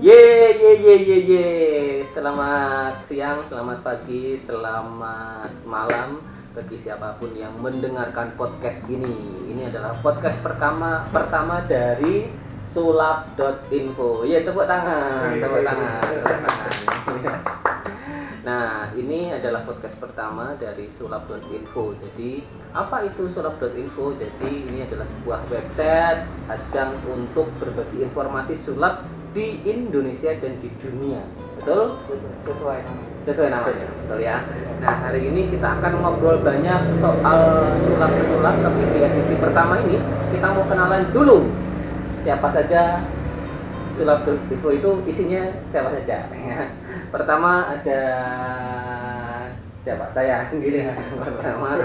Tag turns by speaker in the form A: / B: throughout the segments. A: Ye ye ye ye ye. Selamat siang, selamat pagi, selamat malam bagi siapapun yang mendengarkan podcast ini. Ini adalah podcast pertama pertama dari sulap.info. Ya tepuk tangan,
B: Yeay.
A: tepuk tangan, tepuk tangan. Nah, ini adalah podcast pertama dari sulap.info. Jadi, apa itu sulap.info? Jadi, ini adalah sebuah website ajang untuk berbagi informasi sulap di Indonesia dan di dunia. Betul?
B: sesuai namanya.
A: Sesuai namanya, betul ya. Nah, hari ini kita akan ngobrol banyak soal sulap-sulap, tapi di edisi pertama ini kita mau kenalan dulu siapa saja sulap info itu isinya siapa saja. Pertama ada siapa? Saya sendiri. Pertama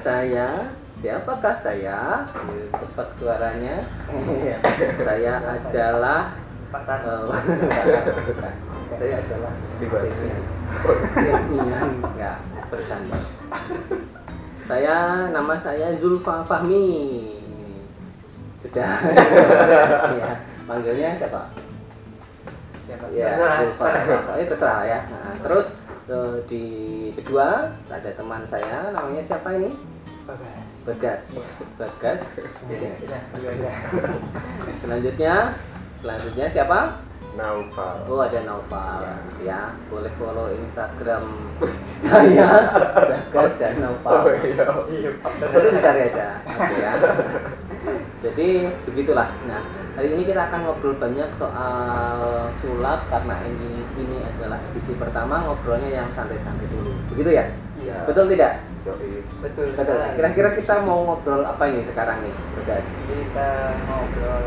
A: saya siapakah saya? Tepat suaranya. saya adalah
B: Pak Tan.
A: Oh, bukan. Saya adalah Devian. Devian, enggak bercanda. Saya nama saya Zulfa Fahmi. Sudah. ya, manggilnya siapa?
B: Siapa?
A: Ya,
B: Terserah.
A: Zulfa. Oh, ya, terserah ya. Nah, terus eh, di kedua ada teman saya namanya siapa ini?
B: Bagas.
A: Bagas. Bagas.
B: Jadi, sudah, dua aja.
A: Selanjutnya, selanjutnya siapa?
C: Naufal.
A: Oh ada Noval ya. Boleh follow Instagram saya Bagas dan
C: Oh
A: Noval.
C: iya.
B: Iya, Pak.
A: Nanti dicari aja. Oke ya. Jadi begitulah. Nah hari ini kita akan ngobrol banyak soal sulap karena ini ini adalah edisi pertama ngobrolnya yang santai-santai dulu. Begitu ya?
C: Iya.
A: Betul tidak?
C: Yoi.
B: Betul.
A: Betul.
B: sekali.
A: Kira-kira kita mau ngobrol apa ini sekarang nih, Bagas?
B: kita ngobrol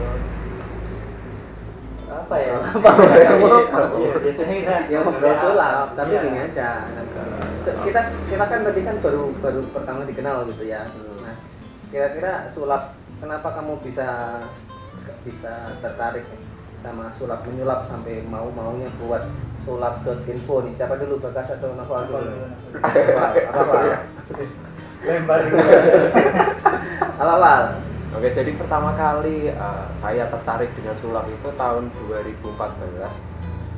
B: apa ya?
A: Apa?
B: Iya, Biasanya kita
A: yang Ya, ngobrol sulap tapi
B: Iya.
A: gini aja nah, so, kita kita kan tadi kan baru baru pertama dikenal gitu ya nah kira-kira sulap kenapa kamu bisa bisa tertarik sama sulap menyulap sampai mau maunya buat sulap.info nih siapa dulu bagas atau novel
B: Apa
A: dulu
B: dulu?
A: apa apa
B: Lempar dulu.
A: apa apa
C: Oke, jadi pertama kali eh, saya tertarik dengan sulap itu tahun 2014.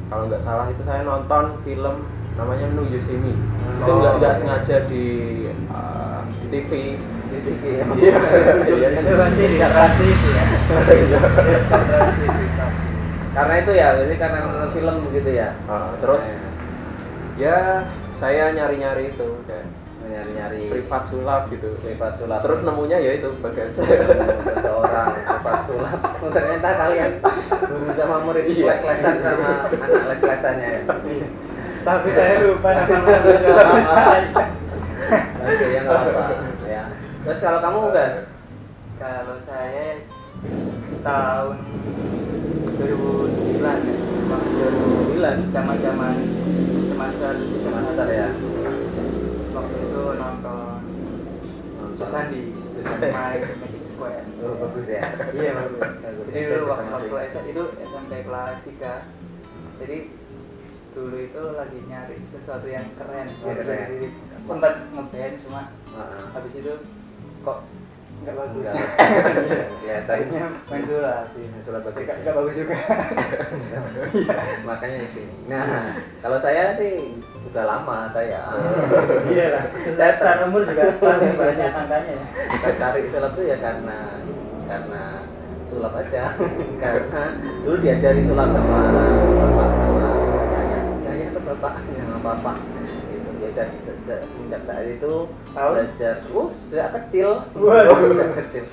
C: Kalau nggak salah itu saya nonton film namanya No Yosemite. Itu nggak nggak sengaja di eh, di TV. Iya. Iya kan?
B: Itu pasti tidak pasti itu ya. Tidak pasti itu.
A: karena itu ya jadi karena nonton film begitu ya
C: Eh, terus ya saya nyari-nyari itu kayak
A: nyari nyari
C: privat sulap gitu.
A: privat sulap
C: Terus nemunya ya itu bagas.
A: seorang tempat sulap Oh, ternyata kalian guru sama murid
C: Iya.
A: les-lesan sama anak les-lesannya ya
B: Iya. Tapi saya lupa nama namanya.
A: oke ya nggak apa ya terus kalau kamu guys
B: Kalau saya tahun 2009 ya, waktu
A: 2009
B: zaman-zaman semester
A: master ya
B: waktu itu nonton
A: nonton
B: Sandi
A: Sandi.
B: main Magic Square.
A: oh, kan bagus ya
B: Iya bagus.
A: Bagus.
B: Jadi
A: Saya
B: dulu
A: juga
B: waktu, waktu
A: masih.
B: S- itu SMP kelas 3 Jadi dulu itu lagi nyari sesuatu yang keren.
A: Yang keren.
B: Jadi, Sempat ngeband cuma
A: Heeh.
B: habis itu kok nggak bagus.
A: Enggak. ya tapi
B: Akhirnya main dulu lah. sih.
A: sulap bagus
B: Nggak
A: ya.
B: nggak bagus juga.
A: makanya di sini nah kalau saya sih udah lama saya
B: Iya lah. Saya secara umur juga paling banyak angkanya ya.
A: tertarik sulap tuh ya karena karena sulap aja karena dulu diajari sulap sama bapak sama ayahnya ayahnya tuh bapak sama bapak itu ya udah se- se- semenjak saat itu
B: Tahun?
A: belajar uh sejak kecil
B: Waduh.
A: sejak kecil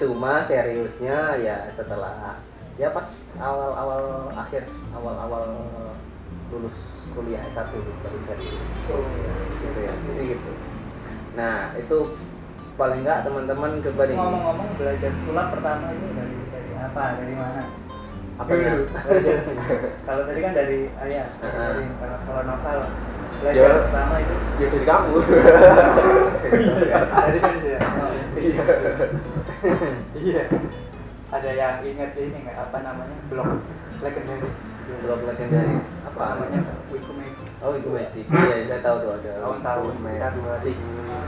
A: cuma seriusnya ya setelah ya pas awal awal akhir awal awal lulus kuliah S1 baru serius gitu ya jadi gitu nah itu paling enggak teman-teman coba nih
B: Ngomong-ngomong belajar sulap pertama itu dari dari apa? Dari mana?
A: apa ya
B: Belajar. Kalau tadi kan dari ayah.
A: Heeh.
B: Dari kalau kalau novel belajar
A: Iya.
C: Ya.
B: pertama itu
C: ya dari kamu.
B: dari kan sih. ya? Oh,
C: Iya.
B: Iya. Ada yang ingat ini nggak apa namanya blog legendaris
A: blog legendaris apa
B: apa namanya Wiku Magic
A: oh itu magic iya saya tahu tuh ada
B: tahun-tahun sekitar
A: magic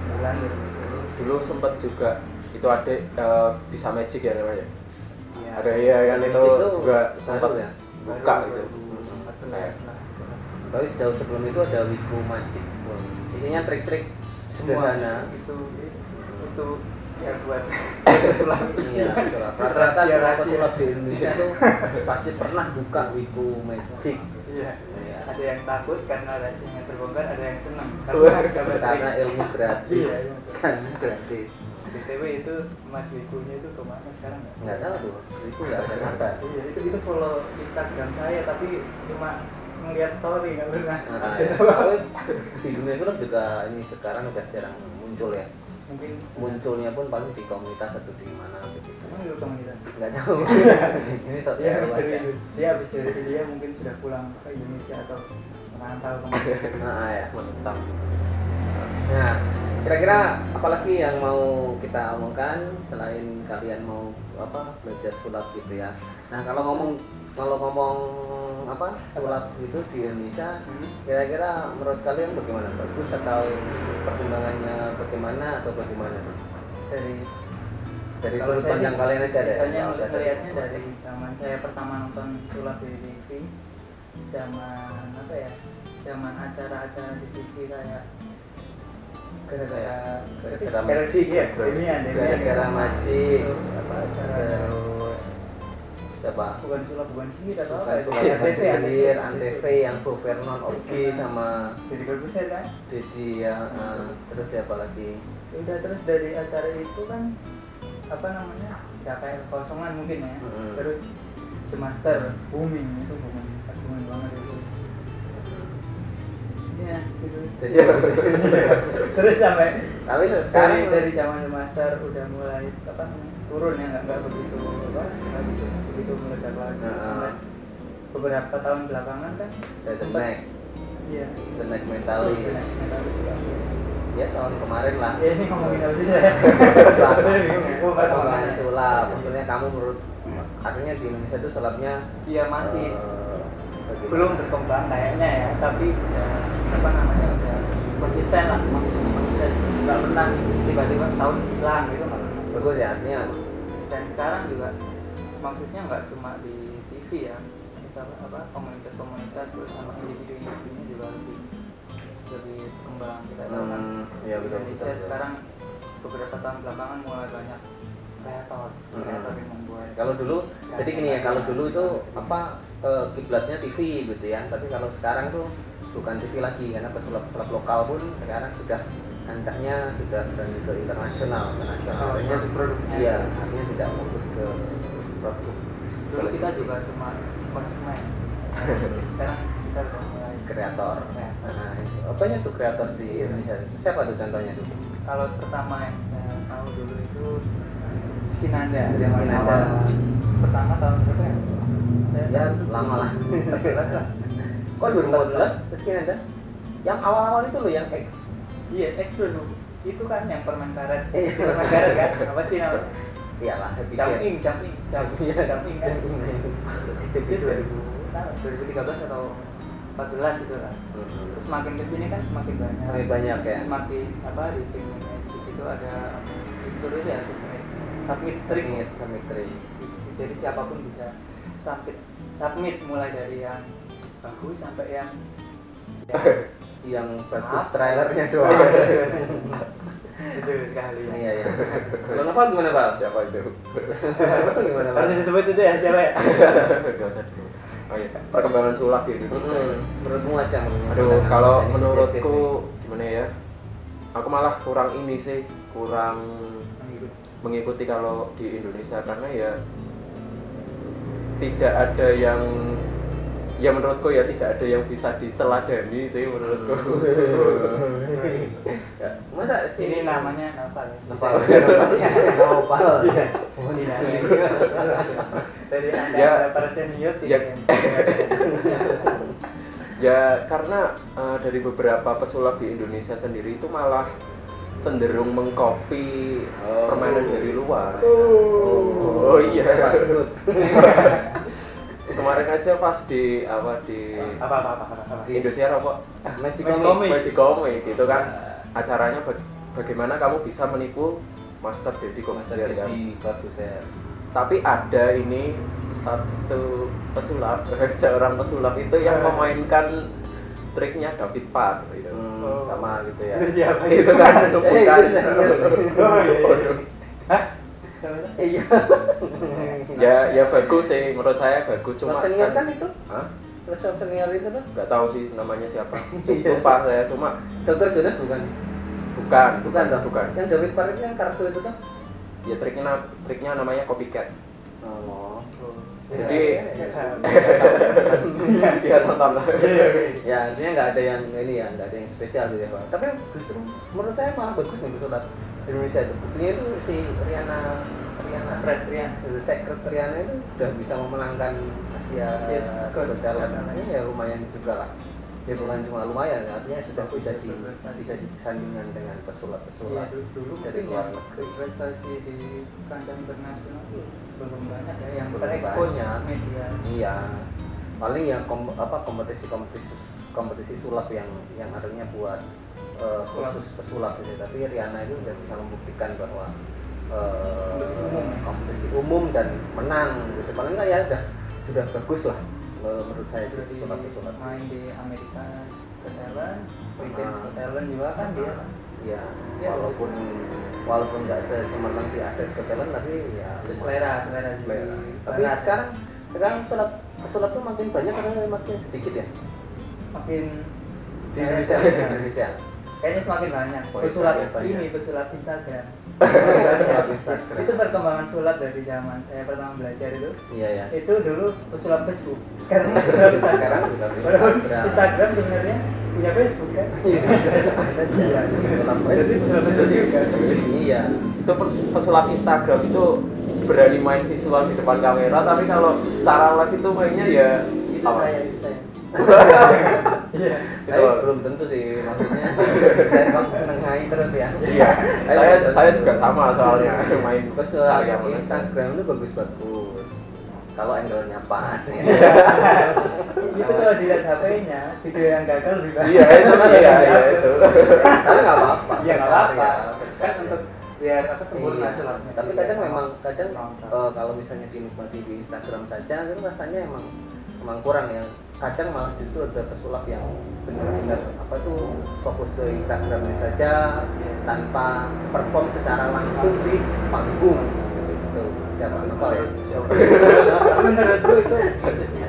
B: 2009 gitu.
C: dulu sempet juga itu ada eh, bisa magic ya namanya
B: Iya.
C: ada iya kan itu
A: Magic tuh
C: juga
A: baru
C: sempat
A: ya?
C: buka gitu
B: benar benar
A: Tapi jauh sebelum itu ada Wiku Magic Wall. Isinya trik-trik sederhana.
B: semua itu
A: Hmm.
B: itu ya buat pesulap
A: Iya, betul. rata-rata
B: Iya,
A: semua pesulap di Indonesia tuh pasti pernah buka Wiku Magic.
B: iya
A: Iya.
B: ada yang takut karena rasanya terbongkar ada yang senang
C: Wah,
B: karena dapat
A: Karena ya.
B: trik.
A: ilmu gratis.
B: iya iya.
A: Kan gratis.
B: btw itu mas Wikunya itu kemana sekarang ya
A: Nggak tahu tuh, itu nggak ada kabar.
B: iya itu itu follow instagram saya tapi cuma ngeliat story nggak pernah
A: Nah, tapi di dunia film kan juga ini sekarang udah jarang muncul ya.
B: mungkin
A: Munculnya pun paling di komunitas atau di mana begitu.
B: emang dulu komunitas
A: Nggak tahu. ini sok
B: Iya,
A: tahu
B: habis
A: aja.
B: dari dia habis dari dia mungkin sudah pulang ke Indonesia atau merantau kemana.
A: Nah, ya.
C: menentang
A: Nah, kira-kira apalagi yang mau kita omongkan selain kalian mau apa belajar sulap gitu ya. Nah, kalau ngomong kalau ngomong apa sulap itu di Indonesia kira-kira menurut kalian bagaimana bagus atau perkembangannya bagaimana atau bagaimana tuh?
B: Dari
A: dari
B: kalau
A: sudut
B: saya
A: pandang
B: sih,
A: kalian aja deh
B: Misalnya
A: kalau dari-
B: melihatnya dari zaman saya pertama nonton sulap di TV, zaman apa ya? Zaman acara-acara di TV kayak gara-gara
A: Gara-gara-
B: Galaxy ya, Demian, Demian.
A: gara-gara maci
B: Itu apa acara
A: terus siapa
B: bukan sulap bukan sihir atau
A: bukan
B: apa? itu?
A: suka
B: ATV,
A: hadir
B: ATV.
A: antv yang Governon Oki sama
B: Jadi kalau bisa kan?
A: Dedi ya eh, terus siapa lagi
B: Udah terus dari acara itu kan apa namanya? Ya kayak kosongan mungkin ya.
A: Mm-mm.
B: Terus semester booming itu booming, pas booming banget itu. Iya, gitu.
A: Jadi-
B: terus sampai
A: tapi
B: dari
A: sekarang
B: dari zaman semester udah mulai apa namanya, turun ya nggak nggak begitu apa nggak begitu begitu meledak lagi
A: Nah,
B: sampai
A: ah.
B: beberapa tahun belakangan kan
A: dari The Mac
B: iya
A: The Mac Mentali
B: Nah, nggak tahu juga.
A: ya tahun kemarin lah
B: ya ini ngomongin apa sih ya Gua nggak tahu
A: perkembangan
B: namanya.
A: sulap maksudnya kamu menurut artinya di Indonesia itu sulapnya
B: iya masih
A: eh, bagaimana?
B: belum berkembang kayaknya ya tapi ya, apa namanya udah konsisten lah maksudnya konsisten nggak pernah tiba-tiba setahun hilang gitu nggak pernah
A: bagus ya artinya
B: dan sekarang juga maksudnya nggak cuma di TV ya misal apa komunitas-komunitas terus sama individu-individunya juga lebih lebih berkembang kita tahu kan
A: Hmm, iya, betul,
B: Indonesia
A: betul, betul.
B: sekarang beberapa tahun belakangan mulai banyak kreator
A: Hmm.
B: kreator yang membuat
A: kalau dulu jadi gini ya kalau dulu itu apa eh, kiblatnya TV gitu ya tapi kalau sekarang tuh bukan TV lagi karena pesulap-pesulap lokal pun sekarang sudah kancahnya sudah berani ke internasional ke nasional
B: Kalau
A: artinya
B: produk-produknya.
A: iya artinya tidak fokus ke produk
B: dulu kita juga cuma konsumen sekarang kita udah mulai
A: kreator
B: kreator.
A: nah, apanya tuh kreator di Indonesia siapa tuh contohnya tuh
B: kalau pertama yang saya tahu dulu itu Skinanda
A: Rizky
B: zaman
A: Nanda.
B: awal pertama tahun berapa ya saya
A: ya lama lah
B: 14 lah
A: kok 2014 terus ada yang awal-awal itu loh yang X
B: iya X dulu itu kan yang permen karet
A: Iya.
B: permen karet kan apa sih namanya
A: iyalah Iya happy
B: jumping jumping jumping
A: Iya,
B: jumping kan
A: jumping.
B: itu
C: ya.
B: 2000 tahu, 2013 atau 14 gitu lah
A: Mm-mm.
B: terus makin kesini kan semakin banyak
A: Makin banyak ya.
B: semakin apa di tim itu ada terus ya submit submit trik
A: Ingat sama Tri.
B: jadi siapapun bisa submit submit mulai dari yang bagus sampai yang
A: yang bagus
B: Apa?
A: trailernya doang
C: Iya.
B: betul sekali
A: iya iya kalau Noval gimana Pak?
C: siapa itu
A: Noval gimana Pak?
B: harus disebut itu ya siapa ya
C: Gak usah dulu. Oh, iya. perkembangan sulap di Indonesia
A: Mm-mm. Hmm. menurutmu aja menurutmu
C: Aduh,
A: pandangan
C: kalau
A: dari subjektif
C: menurutku gimana ya? Aku malah kurang ini sih, kurang mengikuti kalau di Indonesia karena ya tidak ada yang ya menurutku ya tidak ada yang bisa diteladani sih
A: Hmm.
C: menurutku. Ya,
A: nih. masa sih
B: ini namanya Novel
A: Noval Noval
B: Iya.
A: Oh, iya.
B: dari anda
C: Ya.
B: para senior
C: Ya.
B: tidak
C: Ya karena eh, dari beberapa pesulap di Indonesia sendiri itu malah cenderung mengcopy eh,
A: Oh.
C: permainan dari luar.
A: oh iya Pak Sudut.
C: Kemarin aja pas di apa di
B: apa apa apa apa, apa.
C: di Indonesia apa Eh,
A: Magic
B: Magic
A: Comic
B: Comic.
C: Magic Comic gitu kan. Acaranya baga- bagaimana kamu bisa menipu Master Deddy
D: Master
C: Kobusier kan.
D: Deddy Corbuzier.
C: Tapi ada ini satu pesulap, seorang pesulap itu yang memainkan triknya David Parr gitu.
D: Hmm.
C: Sama gitu ya.
B: Itu siapa?
C: itu kan itu
D: Eh,
C: bukan.
D: itu siapa?
B: Oh, iya, iya.
D: Iya.
C: ya ya bagus sih menurut saya bagus cuma
A: senior kan itu
C: Hah?
A: resep senior itu kan
C: nggak tahu sih namanya siapa lupa saya cuma
A: dokter Jonas bukan
C: bukan
A: bukan toh
C: bukan
A: yang David Park itu yang kartu itu kan
C: ya triknya na- triknya namanya copycat
A: oh
C: Jadi-
B: Iya.
C: ya tonton lah
A: ya artinya nggak ada yang ini ya nggak ada yang spesial gitu ya Pak. tapi justru menurut saya malah bagus nih pesulap Indonesia itu buktinya itu si Riana Riana
B: Keren-keren.
A: Secret Riana itu udah bisa memenangkan Asia
B: Asia Secret.
A: Secretariat ini ya lumayan juga lah ya bukan cuma lumayan artinya sudah bisa di bisa disandingkan dengan
B: Iya,
A: pesulap-pesulap
B: dulu, dulu
A: dari
B: mungkin ya.
A: luar
B: yang
A: negeri.
B: investasi di kancah internasional tuh belum banyak ya yang
A: Belum
B: terekspos
A: banyak.
B: media
A: Iya. Paling ya kom- apa kompetisi-kompetisi kompetisi sulap yang yang adanya buat eh,
B: Sulap.
A: khusus pesulap gitu. Tapi Riana itu udah bisa membuktikan bahwa eh,
B: Kompetisi umum.
A: kompetisi umum dan menang gitu. Paling nggak ya udah sudah bagus lah eh, menurut saya sih
B: Jadi
A: pesulap-pesulap.
B: main di Amerika ke Thailand, weekend
A: Ah.
B: ke Thailand juga kan dia kan.
A: Iya.
B: Ya,
A: Walaupun walaupun nggak sesemenang si aset E ke talent tapi ya
B: Itu
A: lumayan.
B: selera, selera di
A: Selera. Tapi
B: barat.
A: sekarang sekarang pesulap pesulap tuh makin banyak karena makin sedikit ya
B: makin
A: di Indonesia. ya,
B: Kayaknya-
A: Di Indonesia.
B: Kayaknya semakin banyak
A: Oh,
B: pesulap
A: iya, banyak.
B: ini, pesulap Instagram.
A: Pesulap Instagram.
B: itu perkembangan sulap dari zaman saya pertama belajar itu.
A: Iya ya.
B: Itu dulu pesulap Facebook. Sekarang pesulap Instagram.
A: Sekarang sudah di
B: Padahal
A: Instagram.
B: Instagram sebenarnya punya Facebook kan? Iya.
A: Pesulap
B: Jadi
A: Facebook.
B: pesulap Facebook juga.
A: Iya.
C: itu pers- pesulap Instagram itu berani main visual di depan kamera tapi kalau secara live itu mainnya ya
B: Itu
C: apa?
B: saya, itu saya. Iya.
A: Tapi
C: Betul.
A: belum tentu sih maksudnya. saya kan menengahi terus ya.
C: iya saya saya juga sama soalnya main
A: Pesulap
C: cari yang mana.
A: eh, Instagram itu bagus-bagus. Kalau angle-nya pas.
C: Iya.
A: ya.
B: Itu kalau dilihat HP-nya, video yang gagal juga.
C: iya itu iya iya itu
A: Tapi nggak apa-apa.
B: Iya nggak apa-apa.
A: Betul,
B: Kan
A: ya.
B: untuk biar apa sempurna
A: Iya.
B: sulapnya.
A: Tapi kadang memang kadang
B: Mantap.
A: eh, kalau misalnya dinikmati di Instagram saja itu rasanya emang emang kurang ya. Kadang malah justru ada pesulap yang benar-benar apa tuh fokus ke Instagramnya saja tanpa perform secara langsung di panggung gitu. Siapa nonton ya?
B: menurutku itu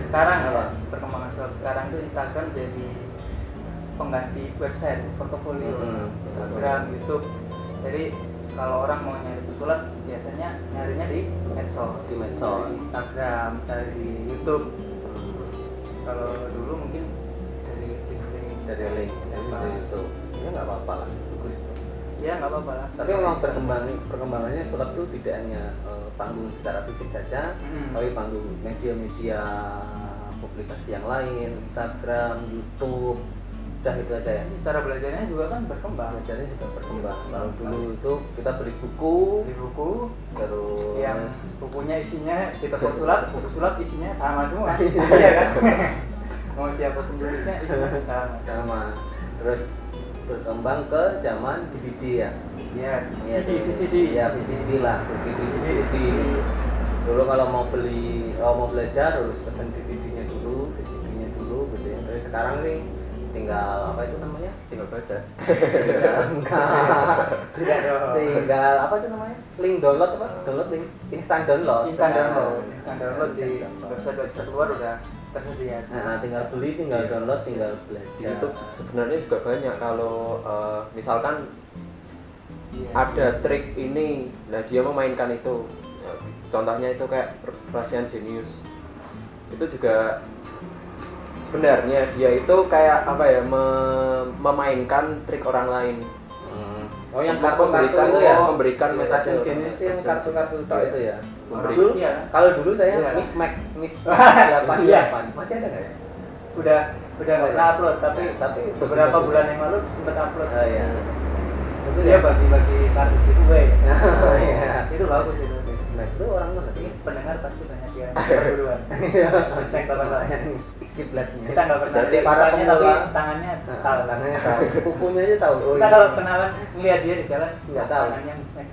B: sekarang
A: Apa?
B: apa? perkembangan sulap sekarang itu Instagram jadi pengganti website portofolio
A: Mm-mm.
B: Instagram YouTube jadi kalau orang mau nyari pesulap biasanya nyarinya di medsos
A: Di medsos.
B: Dari Instagram dari di YouTube kalau dulu mungkin dari LinkedIn
A: Dari link
B: Apa?
A: dari YouTube. Ya nggak apa-apa lah. Bagus itu.
B: ya nggak apa-apa lah
A: Tapi memang perkembang perkembangannya sulap tuh tidak hanya eh, panggung secara fisik saja,
B: Mm.
A: tapi panggung media-media publikasi yang lain Instagram YouTube udah itu aja ya
B: cara belajarnya juga kan berkembang
A: belajarnya juga berkembang kalau dulu itu kita beli buku
B: di buku
A: terus
B: yang bukunya isinya di toko sulap, buku sulap isinya sama semua, iya kan? Mau siapa penulisnya isinya sama.
A: sama terus berkembang ke zaman DVD ya
B: Iya,
A: Iya,
B: CD, CD.
A: ya VCD lah VCD DVD
B: DVD.
A: dulu kalau mau beli kalau mau belajar harus pesan DVD-nya dulu VCD-nya dulu gitu ya tapi sekarang nih tinggal apa itu namanya
C: tinggal baca
A: tinggal enggak
B: Tidak dong.
A: tinggal apa itu namanya link download apa download link instant download
B: Instan
A: Sekarang.
B: download, instan download di
A: Instant download.
B: website website luar udah tersedia.
A: nah tinggal beli tinggal
C: Iya.
A: download tinggal belajar
C: di YouTube sebenarnya juga banyak kalau eh, misalkan
B: Iya.
C: ada trik ini nah dia memainkan itu Ya, contohnya itu kayak Russian Genius itu juga sebenarnya dia itu kayak apa ya me- memainkan trik orang lain
A: Hmm. oh yang
C: Memberikan-
A: kartu-kartu itu ya
C: memberikan metode
A: metasian jenis itu yang kartu-kartu tok itu ya
B: Orang
C: Memberi-
A: dulu
B: Iya.
A: kalau dulu saya
B: Iya.
A: miss mac miss
B: Iya.
A: delapan delapan masih ada nggak ya
B: Udah udah nggak upload tapi
A: Iya. tapi
B: beberapa bulan yang lalu sempat upload.
A: oh, ya
B: itu dia bagi-bagi kartu giveaway
A: Iya.
B: itu bagus itu
A: Nah, itu orang mana
B: ini
A: sih?
B: pendengar pasti banyak ya, yang berdua
A: Iya,
B: Hashtag apa-apa.
A: Kiblatnya.
B: kita nggak pernah
A: Jadi
B: lihat
A: para
B: tangannya tapi
A: pemula-
B: tangannya
A: Nah,
B: tahu
A: tangannya tahu. Kukunya aja tahu. Oh,
B: kita
A: iya.
B: kalau kenalan ngeliat dia di jalan "Oh,
A: Nggak tahu.
B: tangannya mismatch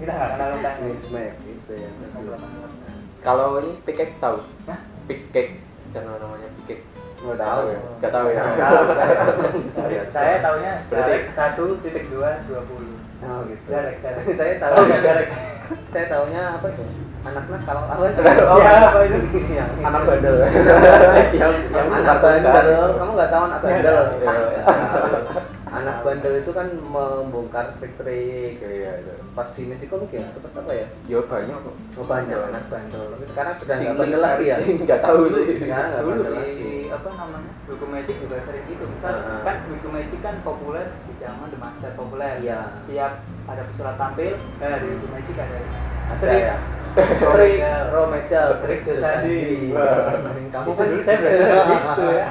B: kita nggak kenalan tangannya
A: Mismatch gitu ya. Bagus.
C: Kalau ini pikek tahu?
B: Hah?
C: Pikek channel namanya pikek.
A: Nggak tahu ya.
C: Gak tahu ya.
A: Oh, gitu.
B: saya tahunya
C: Berarti-
B: jarak satu titik dua dua puluh
A: Oh, gitu.
B: Jarek, jarek.
A: Saya tahu.
B: oh nggak jarak
A: Saya tahunya apa itu? Anak-anak kalau apa sih?
B: oh
A: Yang-
B: apa itu
A: yang anak bandel.
C: Yang yang
A: Yang anak
C: bukan.
A: bandel. Kamu nggak tahu anak bandel.
C: Iya.
A: Anak bandel itu kan membongkar trik-trik.
C: Iya itu.
A: Pas di Mexico League ya, atau pas apa ya?
C: Ya banyak kok.
A: Oh banyak
C: Iya.
A: anak bandel. Tapi sekarang sudah nggak bandel lagi ya.
C: Enggak tahu sih.
A: Sekarang nggak
B: dulu
A: bandel lagi.
B: di apa namanya Wiku Magic juga sering gitu misal
A: Heeh.
B: kan Wiku Magic kan populer di zaman The Master populer
A: Iya.
B: tiap ada pesulap tampil eh, di Wiku Magic ada
A: Ada
B: Trik.
A: ya. Trik
B: Trik.
A: Romeda, trik
B: Trik
A: Dosadi.
B: Dosadi.
A: Wah, Kamu kan
B: saya belajar gitu ya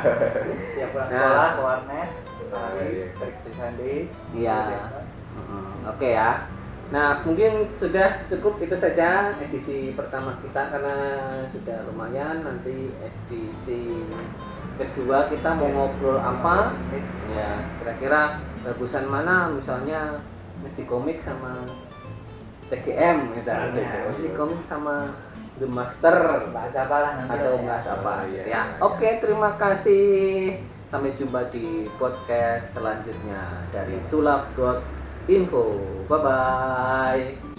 B: tiap pulang
A: Nah.
B: sekolah ke warnet
C: Iya.
B: lari trik di sandi
A: Iya. Mm, Oke ya. Nah, mungkin sudah cukup itu saja edisi pertama kita karena sudah lumayan. Nanti edisi kedua kita mau ngobrol apa? Ya, kira-kira bagusan mana? Misalnya musik komik sama TGM gitu.
B: Nah,
A: Musik komik sama The Master
B: bahas apa lah nanti
A: atau
B: ya.
A: bahas apa
C: Iya,
A: gitu
C: iya.
A: ya. Oke, terima kasih. Sampai jumpa di podcast selanjutnya dari sulap.info. Bye bye.